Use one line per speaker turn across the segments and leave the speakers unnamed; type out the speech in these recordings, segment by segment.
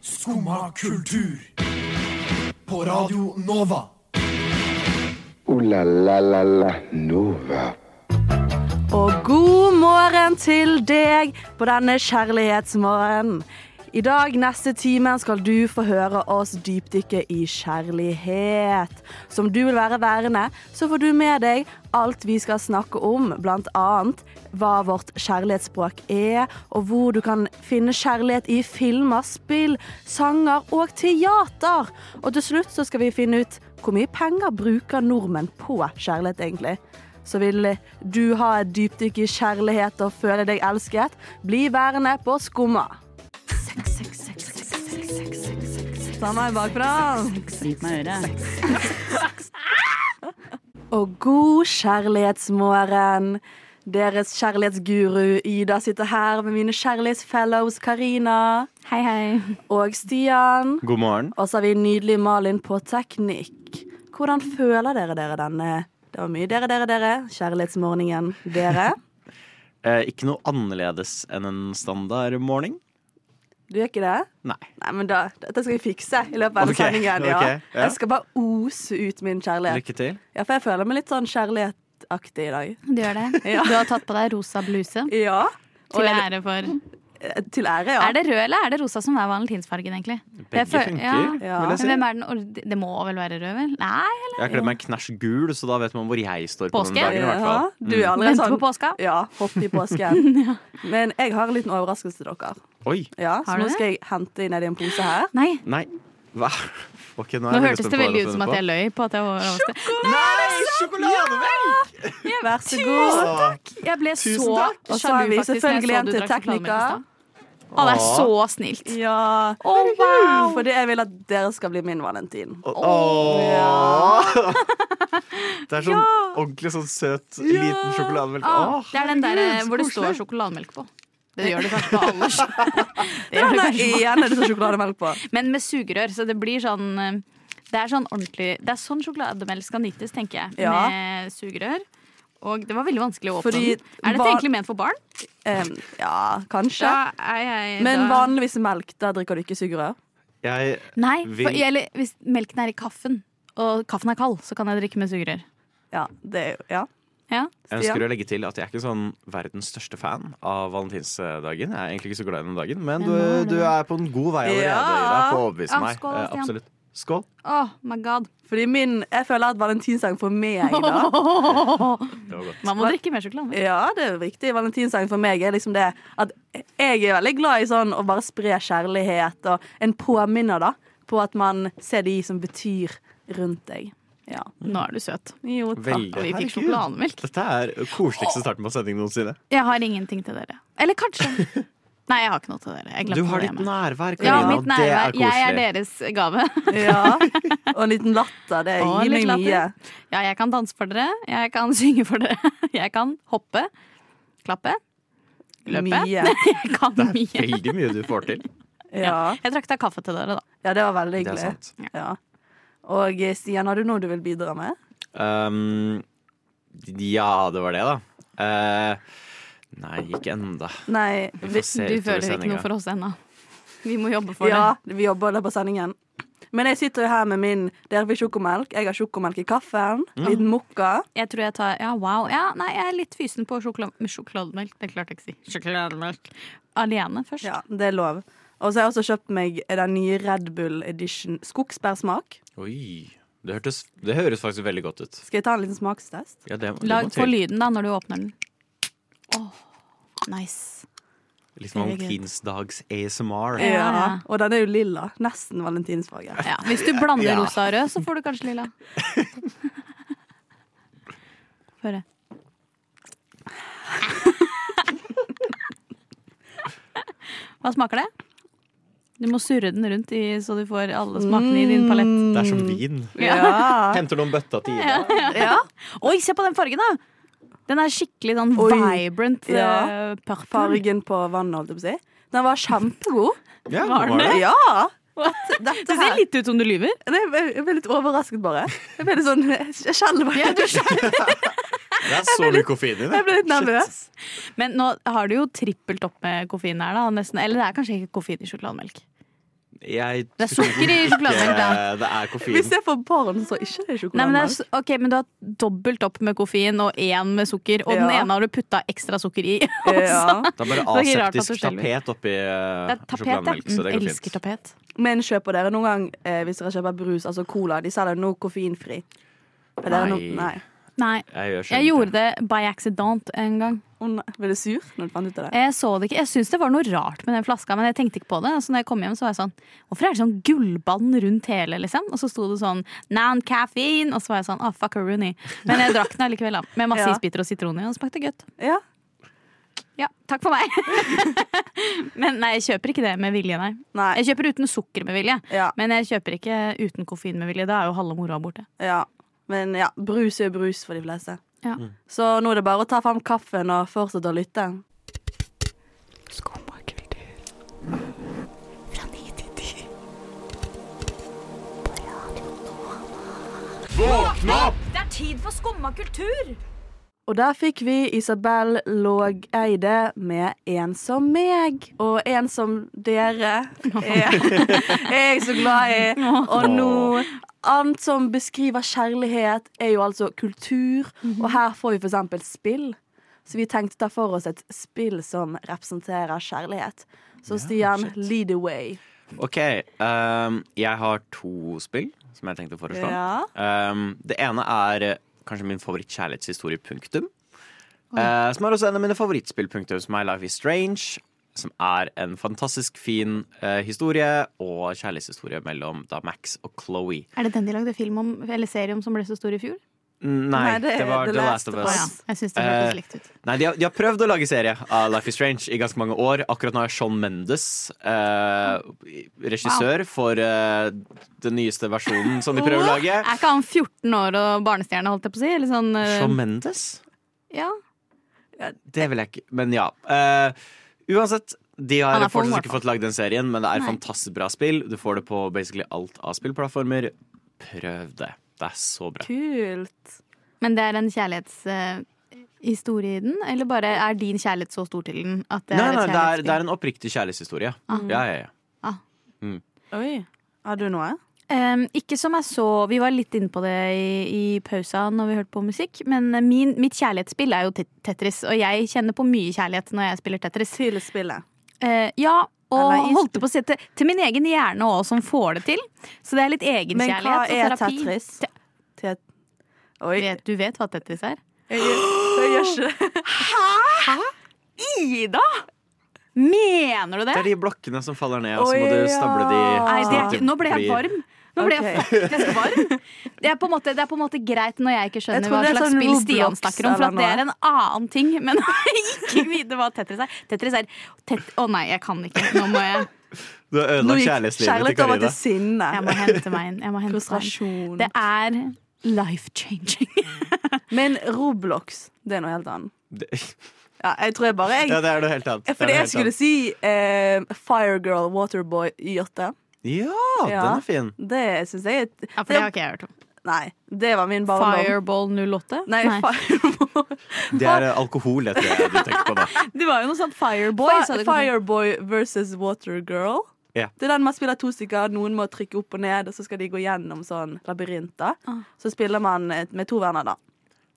Skumma kultur. På Radio Nova.
Ooh la la la la Nova.
Og god morgen til deg på denne kjærlighetsmorgenen. I dag neste timen skal du få høre oss dypdykke i kjærlighet. Som du vil være værende, så får du med deg alt vi skal snakke om, blant annet hva vårt kjærlighetsspråk er, og hvor du kan finne kjærlighet i filmer, spill, sanger og teater. Og til slutt så skal vi finne ut hvor mye penger bruker nordmenn på kjærlighet, egentlig. Så vil du ha et dypdykk i kjærlighet og føle deg elsket, bli værende på Skumma. Ta meg bakfra.
Bit meg i øret.
Og god kjærlighetsmorgen. Deres kjærlighetsguru Ida sitter her med mine kjærlighetsfellows Karina
Hei, hei.
og Stian.
God morgen.
Og så har vi nydelig Malin på teknikk. Hvordan føler dere dere denne Det var mye dere, dere, dere. Kjærlighetsmorgenen dere.
Eh, ikke noe annerledes enn en standard morning?
Du gjør ikke det?
Nei.
Nei, men da, Dette skal vi fikse i løpet av denne
Ok,
sendingen. Ja.
ok, ja.
Jeg skal bare ose ut min kjærlighet.
Lykke til.
Ja, For jeg føler meg litt sånn kjærlighetsaktig i dag.
Du gjør det.
Ja.
Du har tatt på deg rosa bluse.
Ja. Og
Til
jeg-
ære for Er
eh, til ære, ja.
det rød, eller er det rosa som er valentinsfargen, egentlig?
Begge
Jeg føl-
funker,
ja.
Ja.
vil jeg
Men
si.
hvem er den ord- Det må vel være rød, vel? Nei,
Jeg har kledd meg knæsj gul, så da vet man hvor jeg står på
Påske?
den dagen. i hvert
Ja,
fall. Mm.
Du er allerede
Vente på
sånn
påska.
Ja, hopp i påsken. Men jeg har en liten overraskelse til dere.
Oi.
Ja, så
Har du
nå
det?
skal jeg hente inn i en pose her.
Nei.
Nei. Hva? Ok, nå
Nå
er jeg
hørtes
spent
det
på hva
veldig
du
ut
har
som at
funnet
jeg løy på at jeg var overrasket.
på. Nei, sjokolademelk!
Vær så god.
Jeg ble så
Tusen takk.
Og så har vi
sjalu, faktisk, når jeg
selvfølgelig
så
en
du
til
drakk sjokolademelk i
tekniker.
stad. Å, det er
Åh.
så snilt.
Ja.
Å, wow.
Fordi jeg vil at dere skal bli min valentin.
Åh. Åh. Det er sånn ordentlig sånn søt liten sjokolademelk.
Ah,
Åh,
det er den der eh,
herregud,
hvor det
så
står
koselig.
sjokolademelk på. Det gjør det kanskje på alle. Det gjør
Den er
det kanskje på
ene det er sjokolademelk på.
Men med sugerør, så det blir sånn eh, Det er sånn ordentlig Det er sånn sjokolademelk skal nyttes, tenker jeg.
Ja.
Med sugerør. Og det var veldig vanskelig å åpne
Fordi
den. Er dette
hva-
egentlig ment for barn?
Em, ja, kanskje.
Da er jeg
Men
da...
vanligvis i melk, der drikker du ikke sugerør.
Jeg,
Nei, for,
Vil-
eller hvis melken er i kaffen, og kaffen er kald, så kan jeg drikke med sugerør.
Ja, det er jo ja.
Ja.
jeg
Stian?
ønsker å legge til at jeg er ikke sånn verdens største fan av valentinsdagen. Jeg er egentlig ikke så glad i den dagen, men du,
nå er
du
det-
er på en god vei allerede.
Ja.
Ida, på å overbevise
Ja,
meg.
skål,
Eh,
Stian.
Absolutt. Skål.
Oh my god.
Fordi min Jeg føler at valentinsdagen for meg, da
Det var godt.
Man må drikke mer sjokolade.
Ja, det er viktig. Valentinsdagen for meg er liksom det at jeg er veldig glad i sånn å bare spre kjærlighet og en påminner, da, på at man ser de som betyr rundt deg. Ja.
Nå er du søt.
Jo, takk.
Veldig.
Og vi fikk
Herregud.
sjokolademelk.
Dette er koseligste starten på sending noensinne.
Jeg har ingenting til dere. Eller kanskje. Nei, jeg har ikke noe til dere. Jeg
Du
glemte
har
det
ditt
hjemme.
nærvær,
Ja,
Karina.
mitt
og det er
nærvær.
koselig.
Jeg er deres gave.
Ja. Og en liten latter. Det
Og
gir
litt
meg mye.
latter. Ja, jeg kan danse for dere. Jeg kan synge for dere. Jeg kan hoppe. Klappe. Løpe.
Mye.
Jeg kan mye.
Veldig mye du får til.
Ja.
Jeg trakk deg kaffe til dere, da.
ja, det var veldig
Det er
hyggelig.
sant.
Ja. Og eh, Stian, har du noe du vil bidra med?
Um, ja, det var det, da. Eh, nei, ikke enda.
Nei.
Vi
vi-
får se
Du
utover
føler ikke
sendinga.
noe for oss ennå. Vi må jobbe for
ja, vi jobber da på sendingen. Men jeg sitter jo her med min Dere fikk sjokomelk. Jeg har sjokomelk i kaffen.
Mm.
Liten mokka.
det. Jeg tror jeg tar Ja, wow. Ja, nei, jeg er litt fysen på sjokolade, med sjokolademelk. Det klarte jeg ikke å si. Sjokolademelk. Alene først.
Ja, det er lov. Og så har jeg også kjøpt meg den nye Red Bull Edition skogsbærsmak.
Oi. Det, hørtes, det høres faktisk veldig godt ut.
Skal jeg ta en liten smakstest?
Ja, det, det
Lag
må
på
til.
lyden, da, når du åpner den. Åh, nice.
Litt valentinsdags ASMR.
Ja, ja.
Og den er jo lilla. Nesten valentinsfarge.
Ja, hvis du blander
Ja.
rosa og rød, så får du kanskje lilla. Føre. Hva smaker det? Du må surre den rundt i, så du får alle smakene i din palett.
Det er som vin.
Mm, Ja.
Henter noen bøtta til Ida.
ja.
Oi, se på den fargen, da! Den er skikkelig sånn
Oi.
vibrant
Ja.
eh, purple.
Fargen på vannet, holdt jeg på å si. Den var kjempegod.
Ja,
Var
var det?
Ja! Dette,
Det
dette
ser
her.
litt ut som du lyver.
Nei, Jeg jeg ble litt overrasket, bare. Jeg ble litt sånn, jeg skjelver.
Det er så mye koffein i det.
Jeg ble litt nervøs.
Men nå har du jo trippelt opp med koffein her, da. Nesten. Eller det er kanskje ikke koffein i sjokolademelk.
Jeg
Det er sukker i sjokolademelk, da.
Eh, det er koffein.
Hvis det er for barn, så ikke det er
Nei, men det er,
sjokolademelk.
s- ok, men du har dobbelt opp med koffein og én med sukker, og den
Ja.
ene har du putta ekstra sukker i.
Ja.
Det er bare
Det er ikke rart at du
aseptisk
skjelver.
tapet oppi eh,
Det er tapet, ja.
sjokolademelk, så det
Mm,
går
elsker
fint.
tapet.
Men kjøper dere noen gang, eh, hvis dere kjøper brus, altså cola, de selger nå koffeinfri? Er dere
Nei.
No nei.
Nei.
Jeg, gjør
Jeg gjorde det by accident en gang.
Å nei. Ble du sur når du fant ut av det?
Jeg så det ikke, jeg syntes det var noe rart med den flaska, men jeg tenkte ikke på det. Så når jeg kom hjem, så var jeg sånn Hvorfor er det sånn gullbånd rundt hele, liksom? Og så sto det sånn non-caffeine, og så var jeg sånn ah, fuckaroony. Men jeg drakk den allikevel, da. Med masse
Ja.
isbiter og sitron i, og det smakte godt.
Ja.
Ja, takk for meg. men nei, jeg kjøper ikke det med vilje, nei.
Nei.
Jeg kjøper uten sukker med vilje,
Ja.
men jeg kjøper ikke uten koffein med vilje. Da er jo halve moroa borte.
ja. Men ja, brus er jo brus for de fleste.
Ja.
Mm.
Så nå er det bare å ta fram kaffen og fortsette å lytte.
Det er tid for skumma kultur!
Og der fikk vi Isabel Lågeide med 'En som meg'. Og 'En som dere' er er jeg så glad i. Og nå Annet som beskriver kjærlighet, er jo altså kultur. Og her får vi for eksempel spill. Så vi tenkte å ta for oss et spill som representerer kjærlighet. Så Stian, lead the way.
OK. ehm, jeg har to spill som jeg tenkte å foreslå.
Ja.
Ehm, det ene er eh, kanskje min favorittkjærlighetshistorie, punktum. Eh, som er også en av mine favorittspill, punktum, som er Life is Strange. Som er en fantastisk fin eh, historie og kjærlighetshistorie mellom da Max og Chloé.
Er det den de lagde film om, eller serie om, som ble så stor i fjor?
Nei, det, var The Last of
Å
Us.
ja, jeg syns det hørtes
Eh,
likt ut.
Nei, de har, de har prøvd å lage serie av Life is Strange i ganske mange år. Akkurat nå er Sean Mendes eh, regissør for eh, den nyeste versjonen som de prøver å lage.
Er ikke han 14 år og barnestjerne, holdt jeg på å si? Eller sånn eh,
Shawn Mendes?
ja.
Det vil jeg ikke Men ja. Eh, uansett, de har
Han er for ung,
fortsatt
i
ikke fått lagd den serien, men det er
Nei.
fantastisk bra spill. Du får det på basically alt av spillplattformer. Prøv det. Det er så bra.
Kult.
Men det er en kjærlighetshistorie i den? Eller bare er din kjærlighet så stor til den at det
Nei,
er
nei,
et
det er, det
kjærlighetsspill? Ah.
er en oppriktig kjærlighetshistorie. Ja, ja, ja.
Oi. Har du noe?
Ehm, ikke som jeg så Vi var litt inne på det i, i pausa når vi hørte på musikk, men min, mitt kjærlighetsspill er jo Tet- Tetris, og jeg kjenner på mye kjærlighet når jeg spiller Tetris.
Til spillet.
Eh, ja, og
Eller is-
holdt på å si til, til min egen hjerne òg, som får det til. Så det er litt
Men
egenkjærlighet
hva er
og terapi.
Tetris?
Te-
Tet Oi.
Vet, du vet hva Tetris er?
Jeg gjør, jeg gjør ikke det.
Ida! Mener du det?
Det er de blokkene som faller ned, og så
Å,
må du
ja.
stable de
Nei, det er
sånn at
ikke, nå ble jeg
blir-
varm. Nå ble jeg
Ok.
faktisk varm. Det er, på en måte, det er på en måte greit når jeg ikke
Jeg
skjønner
tror
hva
det er
slags
sånn
spill Stian
Roblox
snakker om, for
eller
at det er en annen ting. Men ikke vite hva Tetris er. Tetris er tet Å nei, jeg kan ikke. Nå må jeg,
Du har ødelagt kjærlighetslivet til
kjærlighet over
Karina.
til sinne.
jeg må hente meg inn. Jeg må hente meg inn.
Frustrasjon.
Det er life-changing.
Men Roblox, det er noe helt annet.
Det-
Ja, jeg tror jeg bare jeg,
Ja, det er noe helt annet. Det er
Fordi
noe
jeg
helt
skulle
annet.
si eh, Firegirl, Waterboy, Yachte.
Ja,
Ja.
den er fin.
Det syns jeg er
Ja, for det har ikke jeg hørt om.
Nei, det var min barndom.
Fireball 08?
Nei, Fireboy.
Det er eh, alkohol, jeg tror jeg du tenker på da.
Det var jo noe sånt Fireboy. sa
Fi
det-
Fireboy versus Watergirl.
Ja.
Det er den man spiller to stykker. Noen må trykke opp og ned, og så skal de gå gjennom sånn labyrinter.
Ah.
Så spiller man eh, med to venner, da.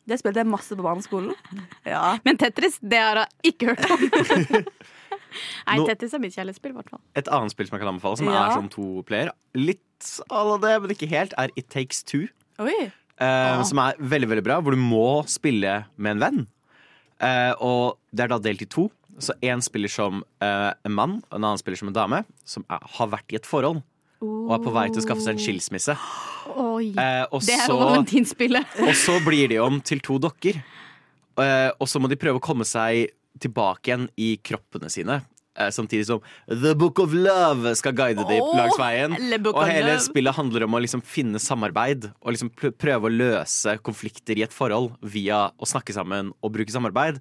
Det spilte jeg masse på barneskolen. Ja.
Men Tetris, det har jeg ikke hørt om. Nei,
Nå-
Tetris er mitt kjærlighetsspill, i hvert fall.
Et annet spill som jeg kan anbefale, som
Ja.
er sånn to player, litt à la det, men ikke helt, er It Takes Two.
Oi.
eh,
Ah.
Som er veldig, veldig bra, hvor du må spille med en venn. Eh, og det er da delt i to. Så én spiller som eh, en mann, og en annen spiller som en dame, som er, har vært i et forhold. Og er på vei til å skaffe seg en skilsmisse.
Oi.
Eh, og
Det er
så-
valentinspillet.
Og så blir de om til to dokker. Eh, og så må de prøve å komme seg tilbake igjen i kroppene sine. Eh, samtidig som The Book of Love skal guide dem
Åh,
langs veien.
Le Book
Og
of
hele
Love.
spillet handler om å liksom finne samarbeid og liksom pr- prøve å løse konflikter i et forhold via å snakke sammen og bruke samarbeid.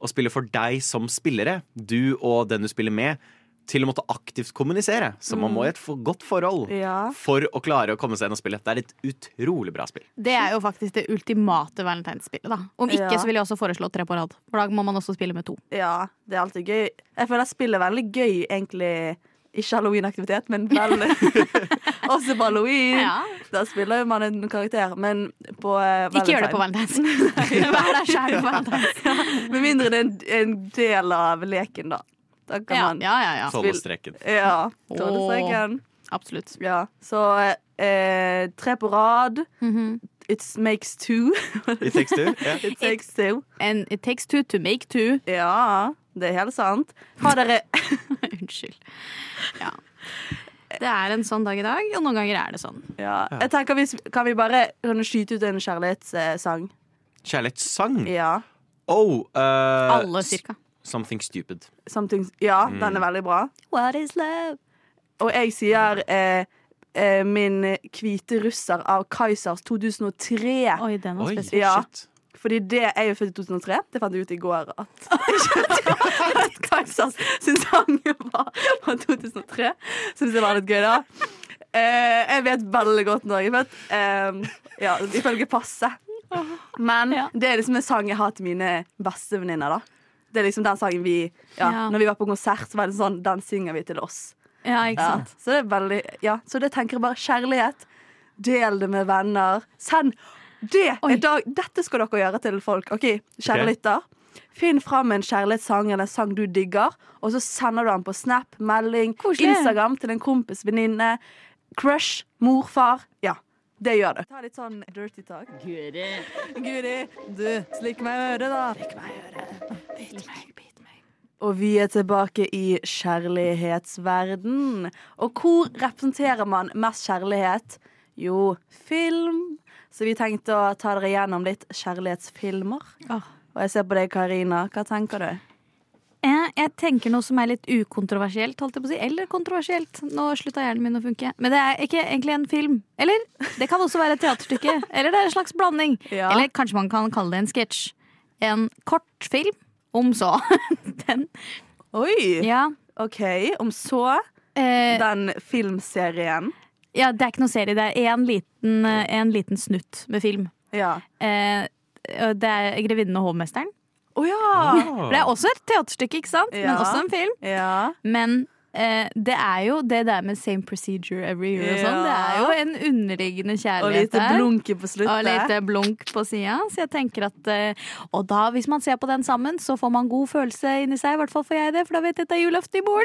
Og spille for deg som spillere, du og den du spiller med, til å måtte aktivt kommunisere. Så man
Mm.
må i et for godt forhold
Ja.
for å klare å komme seg inn og spille. Det er et utrolig bra spill.
Det er jo faktisk det ultimate valentinsspillet, da. Om ikke
Ja.
så vil jeg også foreslå tre på rad. For da må man også spille med to.
Ja, det er alltid gøy. Jeg føler at spill er veldig gøy, egentlig, Ikke halloweenaktivitet, men vel Også på halloween.
Ja.
Da spiller jo man en karakter, men på eh,
Ikke gjør det på
valentine.
valentines. Vær deg sjæl på valentines.
Med mindre det er en, en del av leken, da. Da kan
Ja,
man
ja, ja, ja.
Tålestreken.
Ja.
Åh.
Tålestreken.
Absolutt.
Ja. Så eh, tre på rad.
Mhm.
It makes two.
I tekstur. Ja.
It takes two.
And it takes two to make two.
Ja, det er helt sant. Har dere
Unnskyld. Ja. Det er en sånn dag i dag, og noen ganger er det sånn.
ja. Jeg tenker vi, Kan vi bare kan du skyte ut en kjærlighetssang?
Kjærlighetssang.
Ja.
Oh, eh,
Alle cirka.
Something stupid.
Something, ja, den er veldig bra.
What is love?
Og jeg sier eh, eh, min hvite russer av Kaizers 2003.
Oi, den var
Oi,
spesiell.
Ja.
shit.
Fordi det er jo født i 2003. Det fant jeg ut i går at, at Kaizers sin sang var fra 2003. Syns det var litt gøy, da. Eh, jeg vet veldig godt når jeg er født. Eh, ja, ifølge passet. Men
Ja.
det er liksom en sang jeg har til mine bestevenninner, da. Det er liksom den sangen vi ja,
Ja.
Når vi var på konsert, så var det sånn Den synger vi til oss.
Ja, ikke
Ja.
sant?
Så det er veldig Ja, så det tenker jeg bare kjærlighet. Del det med venner. Send det!
Oi.
er Dag, dette skal dere gjøre til folk. OK, kjære
Ok.
lytter. Finn fram en kjærlighetssang eller en sang du digger, og så sender du den på Snap, melding,
Koselig.
Instagram til en kompis, venninne, crush, morfar. Ja, det gjør du. Ta litt sånn dirty talk. Guri. du, slikk meg i øret, da. Slikk meg i øret.
Bit meg, bit meg.
Og vi er tilbake i kjærlighetsverden. Og hvor representerer man mest kjærlighet? Jo, film. Så vi tenkte å ta dere gjennom litt kjærlighetsfilmer.
Åh.
Og jeg ser på deg, Karina. Hva tenker du?
Jeg, Eh, jeg tenker noe som er litt ukontroversielt, holdt jeg på å si. Eller kontroversielt. Nå slutta hjernen min å funke. Men det er ikke egentlig en film. Eller? Det kan også være et teaterstykke. Eller det er en slags blanding.
Ja.
Eller kanskje man kan kalle det en sketsj. En kortfilm, om så. Den.
Oi!
Ja.
OK, om så
Eh,
den filmserien.
ja, det er ikke noe serie. Det er én liten, eh, en liten snutt med film.
Ja.
Eh, og det er 'Grevinnen og hovmesteren'.
Å ja!
For Det er også et teaterstykke, ikke sant? Men
Ja.
også en film.
Ja.
Men eh, det er jo det der med same procedure every year og sånn. Det
Ja.
er jo en underliggende
Og
kjærlighet
lite
der.
blunke på
Og
slutten.
lite blunk på sida. Så jeg tenker at eh, Og da, hvis man ser på den sammen, så får man god følelse inni seg. I hvert fall får jeg det, for da vet jeg at det er julaften i morgen.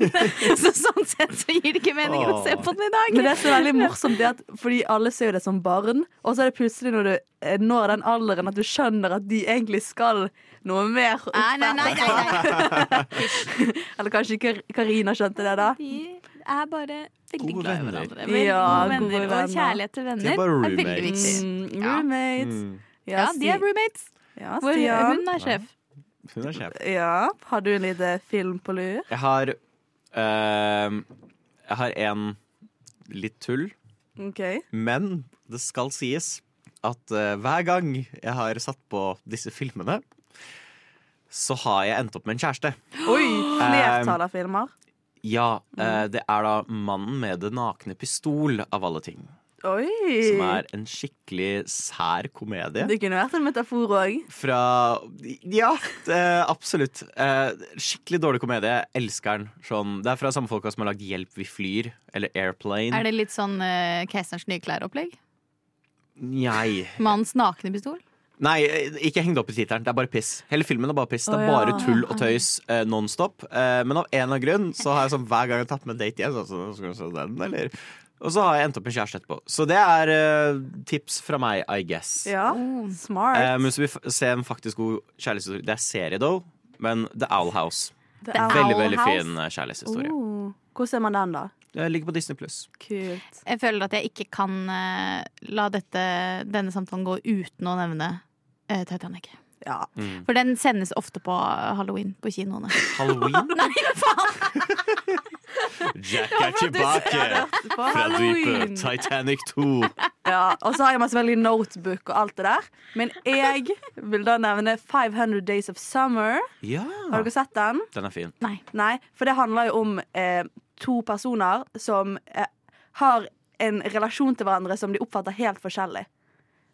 Ja.
så sånn sett så gir det ikke mening å se på den i dag.
Men det som er veldig morsomt, det er at fordi alle ser jo det som barn, og så er det plutselig når du eh, når den alderen at du skjønner at de egentlig skal noe mer.
Nei, nei, nei, nei, nei.
Eller kanskje Kar- Karina skjønte det, da.
De er bare veldig
Gode
glad i
venner.
hverandre.
Ja,
gode venner.
gode venner.
Og kjærlighet til
De er
venner
bare
er veldig
roommates.
viktig.
Mm,
Ja.
roommates.
Ja, de er roommates.
ja,
Hvor
Stian.
hun er sjef.
Hun er sjef.
Ja, har du en liten film på lur?
Jeg har eh, Jeg har en litt tull,
OK.
men det skal sies at eh, hver gang jeg har satt på disse filmene, så har jeg endt opp med en kjæreste.
Oi!
Um,
Flertall av filmer.
Ja, eh,
Mm.
det er da 'Mannen med det nakne pistol' av alle ting.
Oi!
Som
Eh.
er en skikkelig sær komedie.
Det kunne vært en metafor òg.
Fra Ja, eh, absolutt. Eh, skikkelig dårlig komedie. Jeg elsker den. Sånn, det er fra samme folka som har lagd 'Hjelp, vi flyr' eller 'Airplane'.
Er det litt sånn uh, Keiserens nye klær-opplegg?
Nei.
Mannens nakne pistol?
Nei, eh, ikke heng det opp i tittelen. Det er bare piss. Hele filmen er bare piss. Det
Å,
er
ja.
bare tull og tøys eh, nonstop. Eh, men av en eller annen grunn så har jeg sånn hver gang jeg har tatt med date igjen, så, så, så, så den, eller Og så har jeg endt opp med kjæreste etterpå. Så det er eh, tips fra meg, I guess.
Ja.
Oh.
Eh,
Smart.
men så vil vi f- se en faktisk god kjærlighetshistorie. Det er serie, though. Men The Owl House.
Det er-
Veldig
Owl
veldig
House?
fin eh, kjærlighetshistorie.
Oh, Hvordan ser man den, da?
Det ligger på Disney Pluss.
Kult.
Jeg føler at jeg ikke kan eh, la dette, denne samtalen gå uten å nevne eh, Titanic.
Ja.
Mm.
For den sendes ofte på eh, halloween på kinoene.
Halloween?
Nei, faen!
Jack er tilbake
På
fra
Halloween.
dypet. Titanic 2.
Ja, og så har jeg masse veldig notebook og alt det der. Men jeg vil da nevne 500 Days of Summer.
Ja.
Har dere sett den?
Den er fin.
Nei.
Nei, for det handler jo om eh, to personer som eh, har en relasjon til hverandre som de oppfatter helt forskjellig.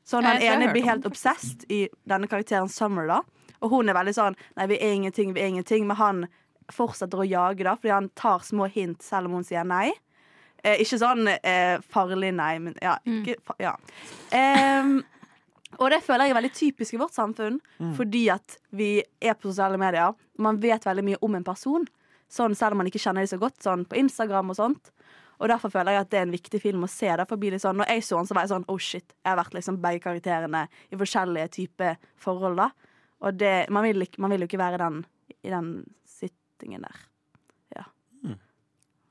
Sånn
Ja,
Den
jeg tror jeg
ene
har hørt
blir
om
helt obsessed i denne karakteren Summer, da. Og hun er veldig sånn Nei, vi er ingenting, vi er ingenting. Men han fortsetter å jage, da, fordi han tar små hint selv om hun sier nei. Eh, ikke sånn eh, farlig nei, men ja.
Mm.
Ikke, fa ja. Em, og det føler jeg er veldig typisk i vårt samfunn, fordi at vi er på sosiale medier. Man vet veldig mye om en person, sånn, selv om man ikke kjenner dem så godt, sånn på Instagram og sånt. Og derfor føler jeg at det er en viktig film å se. Derfor blir det sånn, Når jeg så den, så var jeg sånn oh shit. Jeg har vært liksom begge karakterene i forskjellige typer forhold. da Og det, man, vil, ikke- man vil jo ikke være den, i den sittingen der.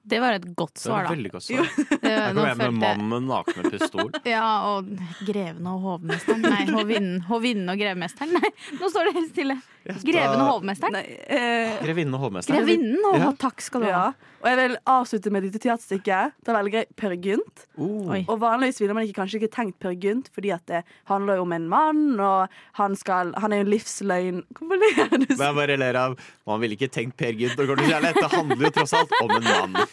Det var et godt
Det var
svar, da.
veldig godt svar.
Det-
Jeg
nå
kom hjem med
følte-
mannen med nakne pistol.
Ja, og grevene og hovmesteren. Nei, hovinnen hovinnen og grevmesteren. Nei, nå står det helt stille. Greven og hovmesteren.
Nei, eh,
Grevinnen og hovmesteren.
Grevinnen og
Ja.
takk skal du ha.
ja. Og jeg vil avslutte med et lite teaterstykke. Da velger jeg Per Gynt.
Oh.
Oi.
Og vanligvis ville man ikke, kanskje ikke tenkt Per Gynt, fordi at det handler jo om en mann, og han, skal, han er jo en livsløgn. Hvorfor ler du
Men
sånn?
jeg bare ler av Man ville ikke tenkt Per Gynt og Gordon Kjærlighet. Det handler jo tross alt om en mann.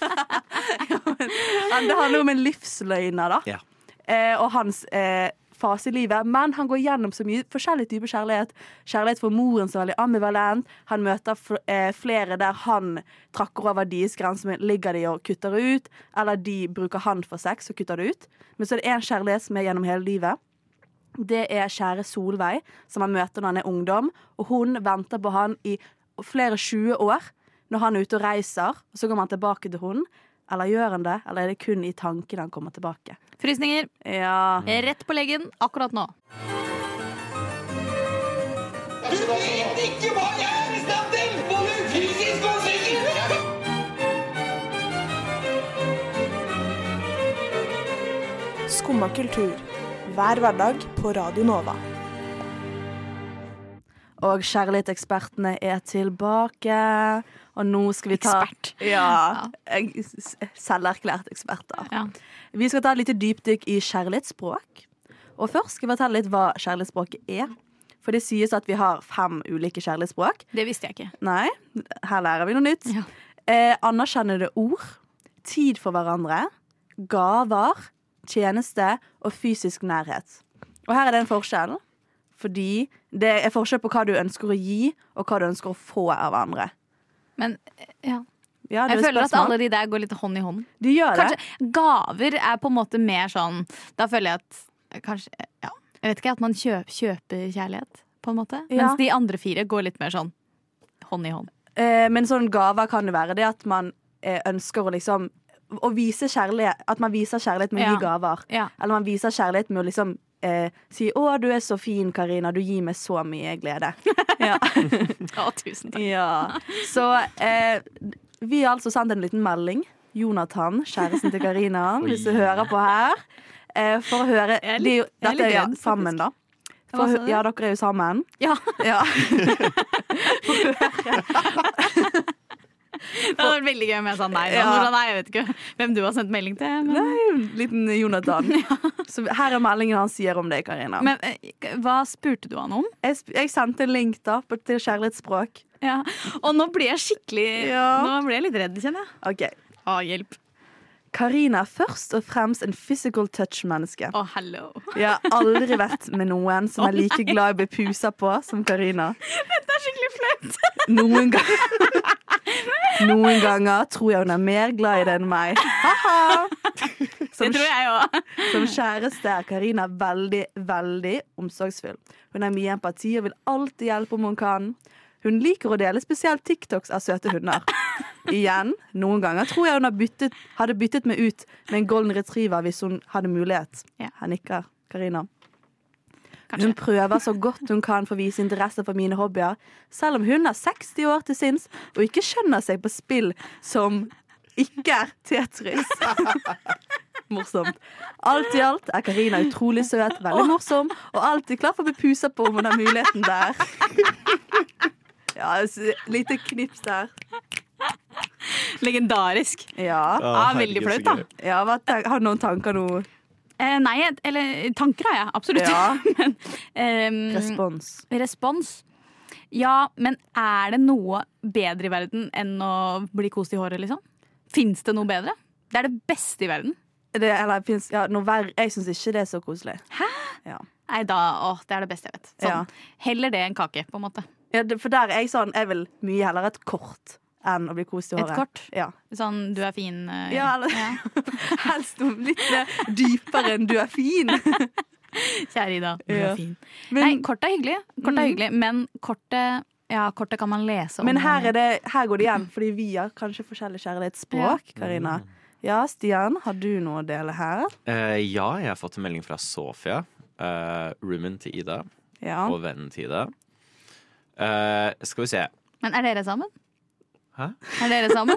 Det handler jo om en livsløgner, da.
Ja.
eh, og hans eh, fase i livet. Men han går gjennom så mye forskjellige typer kjærlighet. Kjærlighet for moren som er veldig ambivalent. Han møter fl eh, flere der han trakker over deres grenser, men ligger de og kutter ut. Eller de bruker han for sex og kutter det ut. Men så er det én kjærlighet som er gjennom hele livet. Det er kjære Solveig, som han møter når han er ungdom. Og hun venter på han i flere 20 år når han er ute og reiser. Og så kommer han tilbake til hun. Eller gjør han det? Eller er det kun i tankene han kommer tilbake?
Frysninger.
Ja.
Rett på leggen akkurat nå.
Du vet ikke hva jeg er i stand til! Både fysisk og psykisk!
Skumma kultur. Hver hverdag på Radio Nova.
Og kjærlighetsekspertene er tilbake. Og nå skal vi ta
Ekspert.
Ja. jeg- s- Selverklært eksperter.
Ja.
Vi skal ta et lite dypdykk i kjærlighetsspråk. Og først skal jeg fortelle litt hva kjærlighetsspråket er. For det sies at vi har fem ulike kjærlighetsspråk.
Det visste jeg ikke.
Nei, her lærer vi noe nytt.
Ja.
Eh, anerkjennede ord, tid for hverandre, gaver, tjeneste og fysisk nærhet. Og her er det en forskjell, fordi det er forskjell på hva du ønsker å gi, og hva du ønsker å få av andre.
Men ja.
Ja, det
jeg
er
føler at
spørsmål.
alle de der går litt hånd i hånd.
De gjør det.
Kanskje gaver er på en måte mer sånn Da føler jeg at eh, kanskje, ja, Jeg vet ikke, at man kjøp, kjøper kjærlighet, på en måte.
Ja.
Mens de andre fire går litt mer sånn hånd i hånd.
Eh, men sånn gaver kan jo være det at man eh, ønsker å liksom å vise kjærlighet, At man viser kjærlighet med å
Ja.
gi gaver.
Ja.
Eller man viser kjærlighet med å liksom eh, si 'Å, du er så fin, Karina. Du gir meg så mye glede'. ja.
Å, tusen takk.
Ja. Så eh, vi har altså sendt en liten melding. Jonathan, kjæresten til Karina, hvis du hører på her. Eh, for å høre
Jeg er
de,
litt- jeg er
Dette er
litt
ja,
redd,
sammen, da. For,
Hva
å
sa
hø-
du?
ja, dere er jo sammen.
Ja,
Ja.
Det hadde vært veldig gøy om jeg sa nei. nå.
Ja.
Nå sa nei, jeg vet ikke hvem du har sendt melding til. Men,
Liten Jonathan. Så her er meldingen han sier om deg, Karina.
men eh, hva spurte du han om?
Jeg, sp- jeg sendte en link da på, til kjærlighetsspråk.
Ja. Og nå blir jeg skikkelig
Ja.
Nå blir jeg litt redd, kjenner jeg.
Ok.
Å, hjelp.
Karina er først og fremst en physical touch-menneske.
Å, hello.
Jeg har aldri vært med noen som er like glad i å bli pusa på som Karina.
Det er skikkelig flaut.
Noen, ga Noen ganger tror jeg hun er mer glad i det enn meg. Ha-ha!
Det
Som,
tror jeg òg.
som kjæreste er Karina veldig, veldig omsorgsfull. Hun har mye empati og vil alltid hjelpe om hun kan. Hun liker å dele spesielt TikToks av søte hunder. Igjen, noen ganger tror jeg hun har byttet, hadde byttet meg ut med en golden retriever hvis hun hadde mulighet.
Ja.
Her nikker Karina.
Kanskje.
Hun prøver så godt hun kan for å vise interesse for mine hobbyer, selv om hun er 60 år til sinns og ikke skjønner seg på spill som ikke er Tetris. Morsomt. Alt i alt er Karina utrolig søt, veldig morsom og alltid klar for å bli pusa på om hun har muligheten der. Ja, et lite knips der.
Legendarisk.
Ja.
Ja, Ah, veldig
herregud, så
flaut, da.
gøy.
ja hva ten- har du noen tanker nå?
Eh, nei, jeg- eller tanker har jeg, absolutt.
Ja.
men, ehm,
Respons.
respons. Ja, men er det noe bedre i verden enn å bli kost i håret, liksom? Fins det noe bedre? Det er det beste i verden.
Det, eller, finnes, ja, noe verre. Jeg syns ikke det er så koselig.
Nei, da, åh, det er det beste jeg vet. Sånn.
Ja.
Heller det enn kake, på en måte.
Ja, det, for der er jeg sånn Jeg vil mye heller et kort enn å bli kost i
Et
håret.
kort?
Ja.
Sånn 'du er fin'? eh,
Ja, eller- Helst noe litt mer dypere enn du er fin.
Kjære Ida, du
Ja.
er fin. Nei,
Men, Mm.
kort er hyggelig, kort er hyggelig men kortet ja, kortet kan man lese om.
men her,
man-
er det, her går det igjen, fordi vi har kanskje forskjellig kjærlighetsspråk, Karina. Ja, Stian, har du noe å dele her?
Eh, ja, jeg har fått en melding fra Sofia. Uh, roomien til Ida
Ja.
og vennen til Ida. Eh, skal vi se.
Men er dere sammen?
Hæ?
Er dere sammen?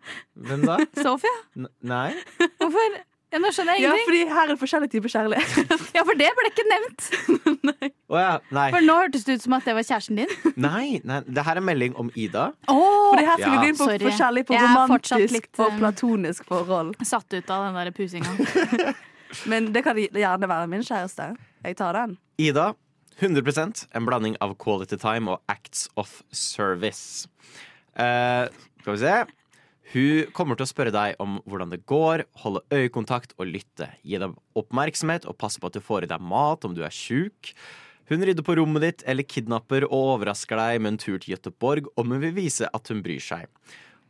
Hvem da?
Sofia?
N nei?
Hvorfor? Ja, nå skjønner jeg
ja,
ingenting.
fordi her er forskjellige typer kjærlighet.
Ja, for det ble ikke nevnt.
Å ja. Nei.
For nå hørtes det ut som at det var kjæresten din.
nei. Nei. Det her er melding om Ida.
Oh,
Fordi her skal
Ja.
vi gå inn på
Sorry.
forskjellig på
Jeg er fortsatt
romantisk
litt,
og
um,
platonisk forhold.
Satt ut av den der pusinga.
Men det kan gjerne være min kjæreste. Jeg tar den.
Ida, 100 en blanding av quality time og acts of service. Eh, skal vi se. Hun kommer til å spørre deg om hvordan det går, holde øyekontakt og lytte. Gi deg oppmerksomhet og passe på at du får i deg mat om du er sjuk. Hun rydder på rommet ditt eller kidnapper og overrasker deg med en tur til Gøteborg om hun vil vise at hun bryr seg.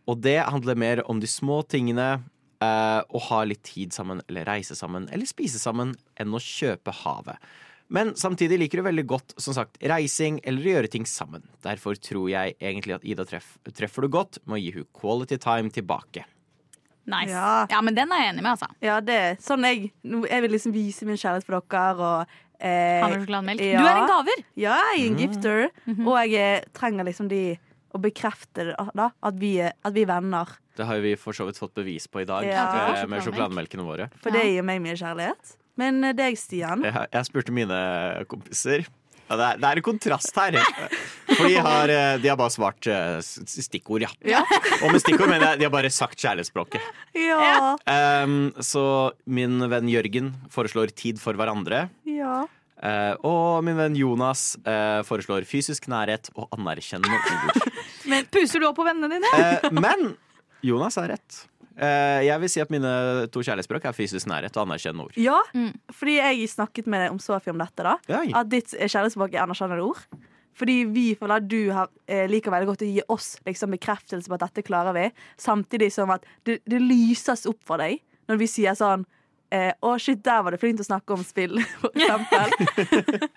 Og det handler mer om de små tingene. eh, å ha litt tid sammen, eller reise sammen, eller spise sammen, enn å kjøpe havet. Men samtidig liker du veldig godt som sagt, reising eller å gjøre ting sammen. Derfor tror jeg egentlig at Ida treff, treffer du godt med å gi hun quality time tilbake.
Nice.
Ja.
Ja. men den er jeg enig med, altså.
Ja, det er sånn jeg nå- Jeg vil liksom vise min kjærlighet for dere og eh,
Havresjokolademelk.
ja.
Du er en gaver!
Ja, jeg er en gifter. Og jeg eh, trenger liksom de å bekrefte det, da, at, vi, er- at vi er venner.
Det har jo vi for så vidt fått bevis på i dag
Ja.
eh, med sjokolademelkene våre.
For det gir meg mye kjærlighet. Men eh, deg, Stian.
Jeg, jeg spurte mine kompiser. Ja, det, er, det er en kontrast her. For de har, eh, de har bare svart eh, s- stikkord, ja. Og med stikkord mener jeg de har bare sagt kjærlighetsspråket.
Ja.
Ehm, så min venn Jørgen foreslår tid for hverandre.
ja.
Eh, og min venn Jonas eh, foreslår fysisk nærhet og anerkjennende ord.
Men puser du opp på vennene dine?
Eh, men Jonas har rett. Eh, jeg vil si at mine to kjærlighetsspråk er fysisk nærhet og anerkjennende ord.
Ja, fordi jeg snakket med deg om Sofie om dette. da
Oi.
At ditt eh, kjærlighetsspråk er anerkjennende ord. Fordi vi føler at du har, eh, liker veldig godt å gi oss liksom, bekreftelse på at dette klarer vi, samtidig som at det, det lyses opp for deg når vi sier sånn eh, Å, shit, der var det flink til å snakke om spill, for eksempel.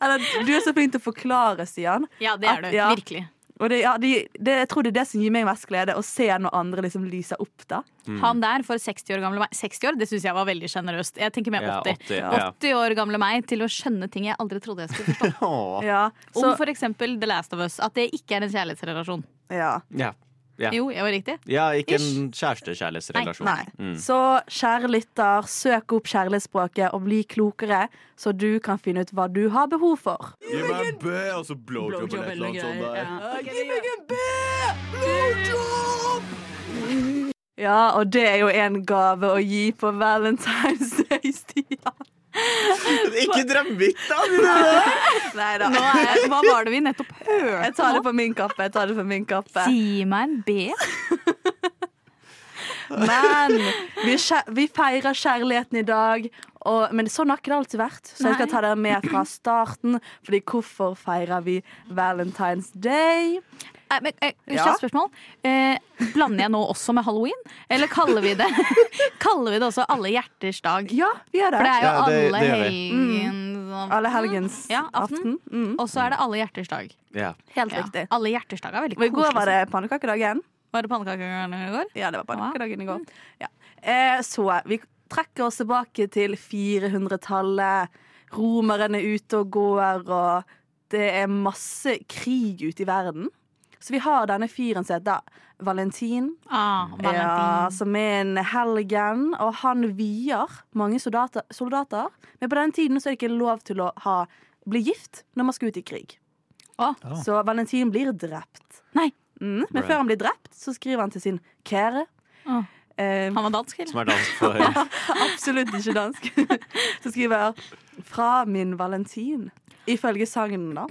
Eller du er så flink til å forklare, Stian.
Ja, det er
At-
du.
ja.
Virkelig.
Og det, ja, de, det, jeg tror det er det som gir meg mest glede, å se når andre liksom lyser opp, da.
Mm.
Han der for 60 år gamle meg 60 år, det syns jeg var veldig sjenerøst. Jeg tenker mer
Ja,
80.
80, ja.
80 år gamle meg til å skjønne ting jeg aldri trodde jeg skulle forstå.
Åh.
Ja, så,
Om for eksempel The Last of Us. At det ikke er en kjærlighetsrelasjon.
ja.
Ja. Ja.
Jo, jeg var riktig.
ja, ikke en kjæreste-kjærlighetsrelasjon.
Nei. Så kjære lytter, søk opp kjærlighetsspråket og bli klokere, så du kan finne ut hva du har behov for.
Gi meg en B, og så blowjob
Ja, og det er jo en gave å gi på Valentine's Day, Stian.
Ikke drømmevik, da!
Nei da.
Nå er, hva var det vi nettopp hørte?
Jeg tar det på min kappe. jeg tar det på min kappe.
Si meg en B.
Men vi, kjæ- vi feirer kjærligheten i dag. Og, men sånn har ikke det alltid vært, så jeg skal
Nei.
ta dere med fra starten. Fordi hvorfor feirer vi Valentine's Day?
Nei, men, eh,
Ja.
kjapt spørsmål. Eh, blander jeg nå også med halloween? Eller kaller vi det Kaller vi det også alle hjerters dag?
Ja, vi gjør
For det er jo
Ja, det-
alle
det gjør vi.
helgen
Alle helgens
Ja, aften.
aften. Mm.
Og så er det alle hjerters dag.
Ja.
Helt
Ja.
riktig.
Alle hjerters dag er veldig
Og i
koselig.
går var det pannekakedagen.
Var det pannekaker i går?
Ja, det var pannekakedagen i går. Ja. Eh, så vi trekker oss tilbake til 400-tallet. Romerne er ute og går, og det er masse krig ute i verden. Så vi har denne fyren som heter Valentin,
Ah,
ja,
Valentin.
som er en helgen, og han vier mange soldater, soldater. Men på denne tiden så er det ikke lov til å ha, bli gift når man skal ut i krig.
Å,
Så Valentin blir drept.
Nei.
Mm, men
Right.
før han blir drept, så skriver han til sin kjære.
Åh.
Eh,
han var dansk, eller?
Som er dans for
absolutt ikke dansk. så skriver jeg 'Fra min Valentin', ifølge sangen, da.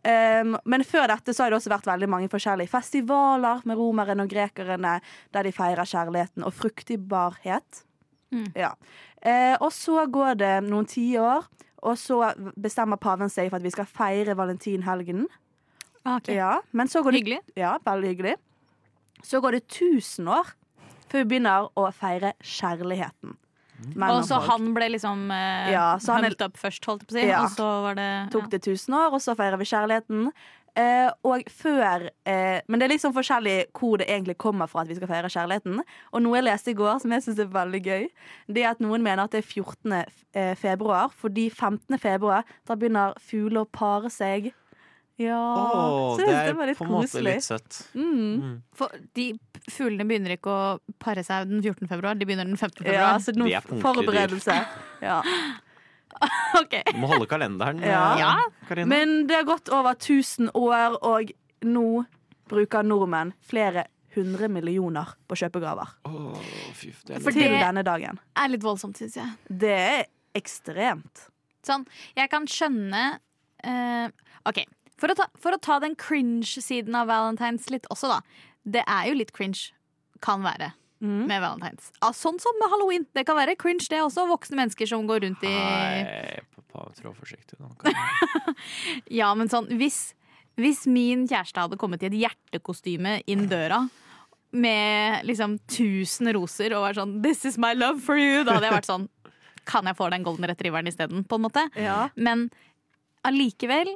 Um, men før dette så har det også vært veldig mange forskjellige festivaler med romerne og grekerne der de feirer kjærligheten og fruktbarhet.
Mm.
Ja. Eh, og så går det noen tiår, og så bestemmer paven seg for at vi skal feire valentinhelgenen.
Ah, ok.
Ja, men så går det
Hyggelig.
ja, veldig hyggelig. Så går det 1000 år før vi begynner å feire kjærligheten.
Mm.
mellom
Og så
folk.
han ble liksom eh,
Ja, så han er-
humped up først, holdt jeg på å si.
Ja.
Og så var det
tok det 1000 år, og så feirer vi kjærligheten. Eh, og før eh, Men det er liksom forskjellig hvor det egentlig kommer fra at vi skal feire kjærligheten. Og noe jeg leste i går som jeg syns er veldig gøy, det er at noen mener at det er 14. f- eh, februar, fordi 15. februar da begynner fugler å pare seg. Ja
Åh,
Så jeg
det
synes
er
det var litt
på en måte
koselig. Mm.
litt søtt.
For de fuglene begynner ikke å pare seg den 14. februar, de begynner den 15.
Ja,
februar.
så noen
De er
f-
punktlige dyr.
forberedelse. Ja.
Ok.
Du må holde kalenderen,
Ja.
eh,
Ja.
Karine.
Men det har gått over 1000 år, og nå bruker nordmenn flere hundre millioner på kjøpegaver.
Åh, fy, det er
For
litt-
Til
det-
denne dagen.
Er litt voldsomt, syns jeg.
Det er ekstremt.
Sånn, jeg kan skjønne eh, Ok, for å, ta, for å ta den cringe-siden av valentines litt også da Det er jo litt cringe, kan være Med valentines ah, Sånn som med halloween, det kan være cringe Det er også voksne mennesker som går rundt i
Nei, pappa, trå forsiktig nå. Karine.
Ja, men sånn, hvis, hvis min kjæreste hadde kommet i et hjertekostyme Inn døra Med liksom tusen roser Og vært sånn, this is my love for you Da hadde jeg vært sånn kan jeg få den golden retrieveren i stedet, på en måte? Men allikevel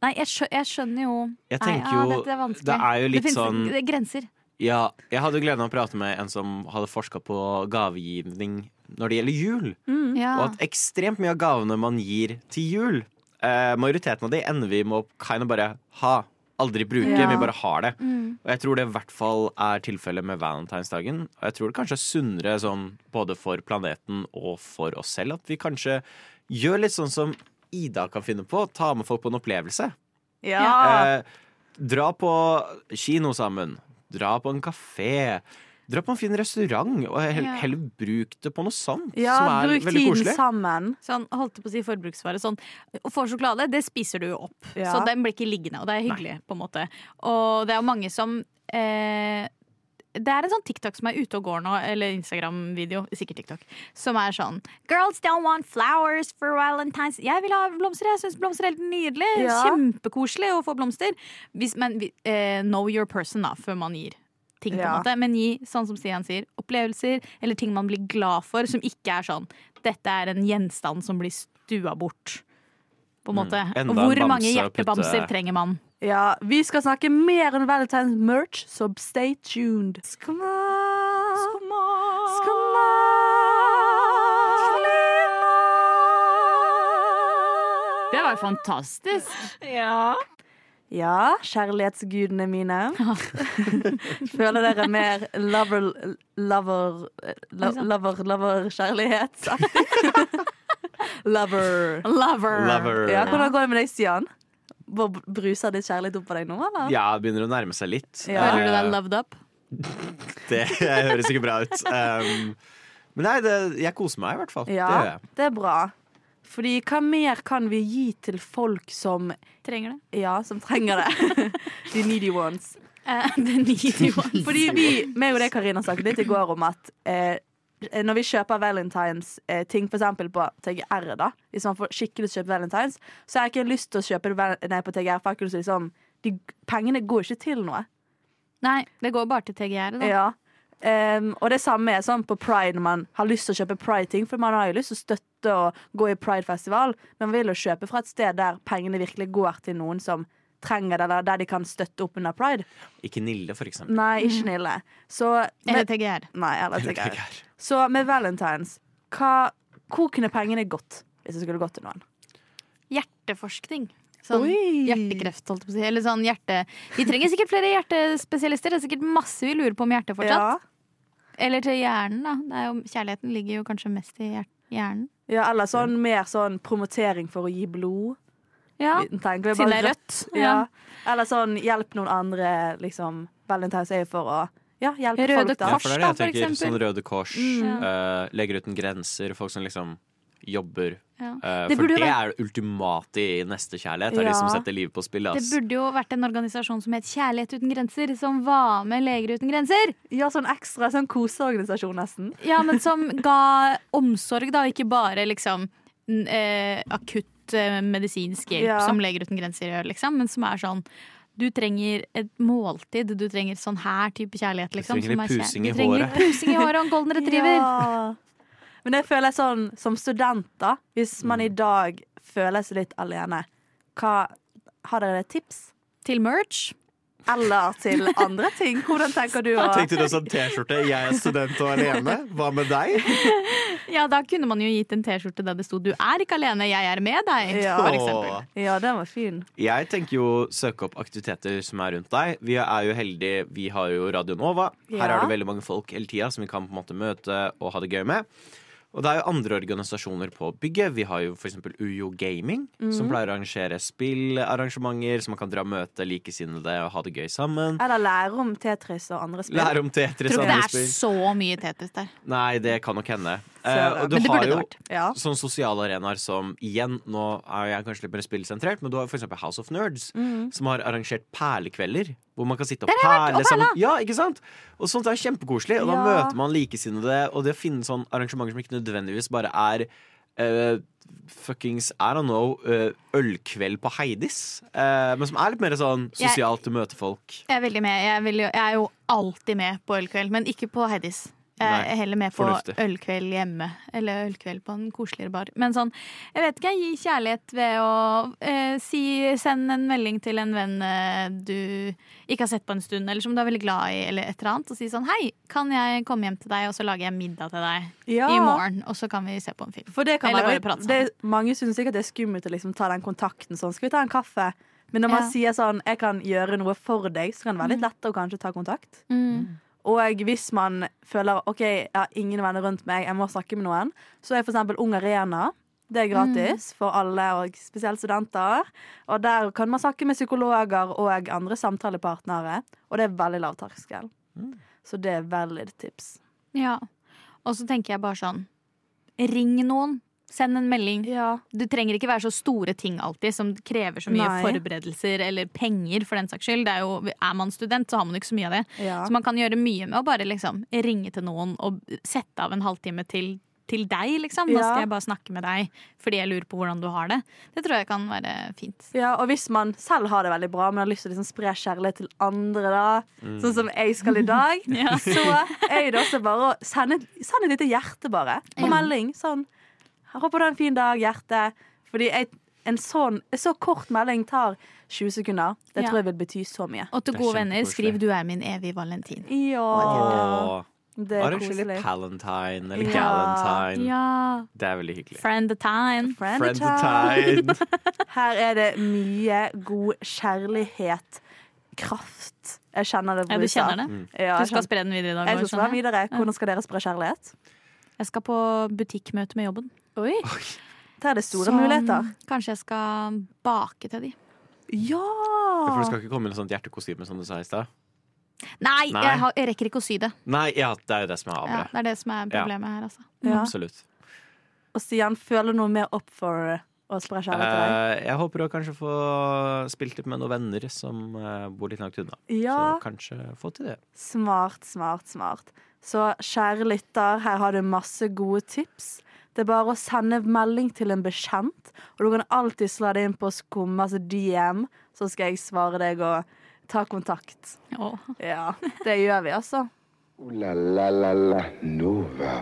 Nei, jeg, skjø jeg skjønner jo
Jeg
Nei,
tenker
ja,
jo-
dette er vanskelig.
det er jo litt
finnes-
sånn-
Det er grenser.
Ja, jeg hadde gleden av å prate med en som hadde forska på gavegivning når det gjelder jul.
Ja.
Mm.
Ah.
Og at ekstremt mye av gavene man gir til jul, eh, majoriteten av de ender vi med å kind of bare ha. Aldri bruke,
Ja. Mm.
vi bare har det. Og jeg tror det i hvert fall er tilfellet med valentinsdagen. Og jeg tror det kanskje er sunnere sånn både for planeten og for oss selv at vi kanskje gjør litt sånn som Ida kan finne på. Ta med folk på en opplevelse.
Ja.
Eh, dra på kino sammen. Dra på en kafé. Dra på en fin restaurant, og hell-
Ja.
heller bruk det på noe sånt.
ja,
som er
bruk
veldig
tiden
koselig.
sammen.
Sånn, holdt jeg på å si forbruksvare. Sånn, og får sjokolade, det spiser du jo opp.
Ja.
Så den blir ikke liggende, og det er hyggelig. på en måte Og det er jo mange som eh, Det er en sånn TikTok som er ute og går nå, eller Instagram-video, sikkert TikTok, som er sånn Girls don't want flowers for valentines. Jeg vil ha blomster, jeg syns blomster er helt nydelig.
Ja.
Kjempekoselig å få blomster. Hvis, men vi- eh, know your person, da, før man gir. Ting, på en
Ja.
måte. Men gi, sånn som Stian sier, opplevelser eller ting man blir glad for, som ikke er sånn dette er en gjenstand som blir stua bort. På en måte.
Mm. Enda
Og hvor
en
mange
bamse å putte-
hjertebamser trenger man?
Ja, vi skal snakke mer om Valentine's merch, så stay tuned. Skumma, skumma, skumma.
Det var jo fantastisk.
Ja, kjærlighetsgudene mine. Føler dere mer lover... lover... lo- lover... lover kjærlighetsaktig? lover.
Lover!
Lover.
Ja, hvordan går det med deg, Stian? Bare Bruser ditt kjærlighet opp på deg nå, eller?
Ja, det begynner å nærme seg litt.
Ja.
Føler du deg
Eh,
loved up?
det høres ikke bra ut. Um, men nei, det, jeg koser meg i hvert fall. Det gjør
Ja,
jeg.
det er bra. Fordi hva mer kan vi gi til folk som
Trenger det.
Ja, som trenger det? The needy ones.
Eh, det er needy one.
Fordi vi, meg og deg, Karina, snakket litt i går om at eh, når vi kjøper valentines eh, ting, for eksempel på TGR, da, hvis man får skikkelig kjøpt valentines, så har jeg ikke lyst til å kjøpe det val- nei, på TGR, for jeg kunne liksom de, Pengene går ikke til noe.
Nei, det går bare til TGR. Da.
Ja. Ehm, og det samme er sånn på pride når man har lyst til å kjøpe pride-ting. For man har jo lyst til å støtte og gå i pridefestival, men man vil jo kjøpe fra et sted der pengene virkelig går til noen som trenger det, eller der de kan støtte opp under pride.
Ikke Nille, for eksempel.
Nei, ikke Nille. Så
Eller
med,
TGR.
Nei, eller
Det
TGR.
tenker jeg.
Så med Valentines, hva, hvor kunne pengene gått hvis det skulle gått til noen?
Hjerteforskning. Sånn
Oi.
hjertekreft, holdt jeg på å si. Eller sånn hjerte... Vi trenger sikkert flere hjertespesialister. Det er sikkert masse vi lurer på om hjertet fortsatt.
Ja.
Eller til hjernen, da. Det er jo, kjærligheten ligger jo kanskje mest i hjer- hjernen.
ja, eller sånn mer sånn promotering for å gi blod.
Ja.
Vi tenker
Siden
bare
det er
rødt. Ja. Eller sånn hjelp noen andre, liksom. Valentines er jo for å ja, hjelpe
Røde
folk, da.
Ja, for det er det jeg
da, for
tenker.
eksempel. Mm.
Sånn Røde Kors, eh, Leger uten grenser, folk som liksom jobber.
Ja.
Eh,
Det
for
burde jo
det
være-
er det ultimate i nestekjærlighet. Det er
Ja.
de som setter livet på spill.
Det
ass.
burde jo vært en organisasjon som het Kjærlighet uten grenser, som var med Leger uten grenser.
Ja, sånn ekstra sånn koseorganisasjon, nesten.
Ja, men som ga omsorg, da, og ikke bare liksom n- eh, akutt eh, medisinsk hjelp
Ja.
som Leger uten grenser gjør, liksom, men som er sånn Du trenger et måltid. Du trenger sånn her type kjærlighet. Liksom,
trenger
som
litt
er kjær-
pusing i
du trenger
håret.
litt pusing i håret og en golden retriever.
Ja. Men det føler jeg sånn som student, da. Hvis man i dag føler seg litt alene, hva, har dere et tips?
Til merch.
Eller til andre ting? Hvordan tenker du å
Tenkte du også en T-skjorte? Jeg er student og alene. Hva med deg?
Ja, da kunne man jo gitt en T-skjorte der det sto 'Du er ikke alene, jeg er med deg'.
Ja.
For eksempel.
Ja, den var fin.
Jeg tenker jo søke opp aktiviteter som er rundt deg. Vi er jo heldige, vi har jo Radio Nova. Her
Ja.
er det veldig mange folk hele tida som vi kan på en måte møte og ha det gøy med. Og det er jo andre organisasjoner på bygget. Vi har jo f.eks. UiO Gaming, som
Mhm.
pleier å arrangere spillarrangementer, så man kan dra og møte likesinnede og ha det gøy sammen.
Eller lære om Tetris og andre spill.
Lære om Tetris
Tror
og
ikke det
andre
er
spill.
så mye Tetris der.
Nei, det kan nok hende.
Søren.
Eh, og du
Men det burde
har
det
jo
vært.
Ja.
sånne Sånn sosiale arenaer som igjen, nå er jeg kanskje litt mer spillsentrert, men du har for eksempel House of Nerds,
Mhm.
som har arrangert perlekvelder. Hvor man kan sitte og perle sammen. Ja, ikke sant? Og sånt er kjempekoselig. Og da
Ja.
møter man likesinnede, og det å finne sånne arrangementer som ikke nødvendigvis bare er eh, fuckings I don't know eh, ølkveld på Heidis, eh, men som er litt mer sånn
Jeg-
sosialt, du møter folk.
Jeg er veldig med. Jeg, vil jo, jeg er jo alltid med på ølkveld, men ikke på Heidis. Jeg
Nei,
er heller med på
fornuftig.
ølkveld hjemme, eller ølkveld på en koseligere bar. Men sånn, jeg vet ikke, jeg gir kjærlighet ved å eh, si Send en melding til en venn eh, du ikke har sett på en stund, eller som du er veldig glad i, eller et eller annet, og si sånn Hei, kan jeg komme hjem til deg, og så lager jeg middag til deg
Ja.
i morgen, og så kan vi se på en film.
For det kan
Eller
være,
bare prate
det, mange syns sikkert det er skummelt å liksom ta den kontakten sånn. Skal vi ta en kaffe? Men når man
Ja. Mm.
sier sånn 'jeg kan gjøre noe for deg', så kan det være litt lett å kanskje ta kontakt. Og hvis man føler 'OK, jeg har ingen venner rundt meg, jeg må snakke med noen', så er for eksempel Ung Arena det er gratis for alle, og spesielt studenter. Og der kan man snakke med psykologer og andre samtalepartnere, og det er veldig lavterskel. Så det er veldig et tips.
Ja. Og så tenker jeg bare sånn Ring noen. Send en melding. Det trenger ikke være så store ting alltid som krever så mye
Nei.
forberedelser eller penger. for den saks skyld. Det er, jo, er man student, så har man jo ikke så mye av det.
Ja.
Så man kan gjøre mye med å bare liksom ringe til noen og sette av en halvtime til, til deg. liksom. Nå
Ja.
skal jeg bare snakke med deg fordi jeg lurer på hvordan du har det. Det tror jeg kan være fint.
Ja, og hvis man selv har det veldig bra, men har lyst til å liksom spre kjærlighet til andre, da,
Mm.
sånn som jeg skal i dag,
Ja.
så er det også bare å sende, sende et lite hjerte, bare. På melding. Sånn 'Jeg 'Håper du har en fin dag, hjerte'. Fordi jeg, en sånn en så kort melding tar 20 sekunder. Det
Ja.
tror jeg vil bety så mye.
Og til
Det er
gode venner,
kjempekoselig.
skriv 'du er min evige valentin'.
Ja.
Åh,
Det er
Arranger litt
koselig.
Palentine eller
Ja.
Galentine.
Ja.
Det er veldig hyggelig.
Friend the time.
Friendetime. Her er det mye god kjærlighet. Kraft. Jeg kjenner det
Ja, du
bruser.
kjenner det?
Ja,
Du
jeg
skal
kjenner-
spre den videre i dag?
Jeg skal
også,
sånn
spørre
skjønner jeg.
videre. Hvordan skal dere spre kjærlighet?
Jeg skal på butikkmøte med jobben.
Der er det store
Så,
Sånn.
muligheter.
Kanskje jeg skal bake til de.
For det
Ja!
skal ikke komme inn et sånt hjertekostyme som du sa i stad?
Nei,
Nei.
Jeg, har, jeg rekker ikke å sy det.
Nei, ja, det er jo det som er
Ja,
avbrevet.
det er det som er
Ja.
problemet her, altså.
Ja.
Absolutt.
Og Stian, føler du noe mer opp for eh, å spre kjærlighet til deg?
Eh, jeg håper å kanskje få spilt litt med noen venner som eh, bor litt langt unna.
Ja.
Så kanskje få til det.
Smart, smart, smart. Så kjære lytter, her har du masse gode tips. Det er bare å sende melding til en bekjent, og du kan alltid slå det inn på skum, altså DM, så skal jeg svare deg og ta kontakt.
Åh.
Ja, det gjør vi, altså.
Ooh la la la la Nova.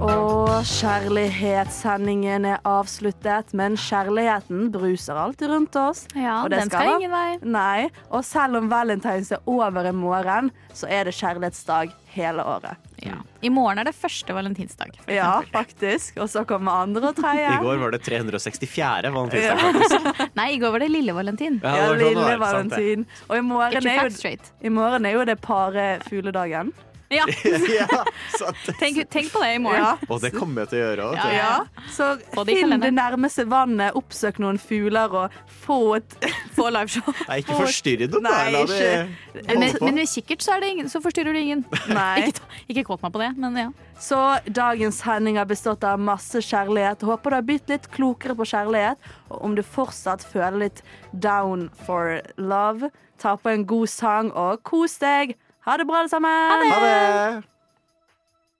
Og kjærlighetssendingen er avsluttet, men kjærligheten bruser alltid rundt oss.
Ja,
og det
den skal,
den.
ingen vei.
Nei, og selv om valentines er over i morgen, så er det kjærlighetsdag hele året.
Ja. I morgen er det første valentinsdag. for
Ja,
eksempel.
faktisk. Og så kommer andre og tredje.
I går var det 364.
Ja.
valentinsdag, faktisk.
Nei, i går var det lille valentin.
Ja,
Ja, det var sånn det
lille
var, sant det.
valentin. Og i morgen,
Get your
er
facts
jo,
straight.
i morgen er jo det parefugledagen.
Ja,
ja, sant det.
tenk, tenk på det i morgen.
Ja.
Og det kommer jeg til å gjøre òg.
Ja, ja.
Så
Få det i
finn det
kalenderen.
nærmeste vannet, oppsøk noen fugler og få et
Få liveshow.
Nei, ikke forstyrre dem, da.
Nei,
La de
ikke-
holde
Men,
på.
men med kikkert så, er det ingen, så forstyrrer du ingen.
Nei.
Ikke, ta- ikke kåt meg på det, men ja.
Så dagens sending har bestått av masse kjærlighet. Håper du har blitt litt klokere på kjærlighet. Og om du fortsatt føler litt down for love, ta på en god sang og kos deg. Ha det bra, alle sammen.
Ha det!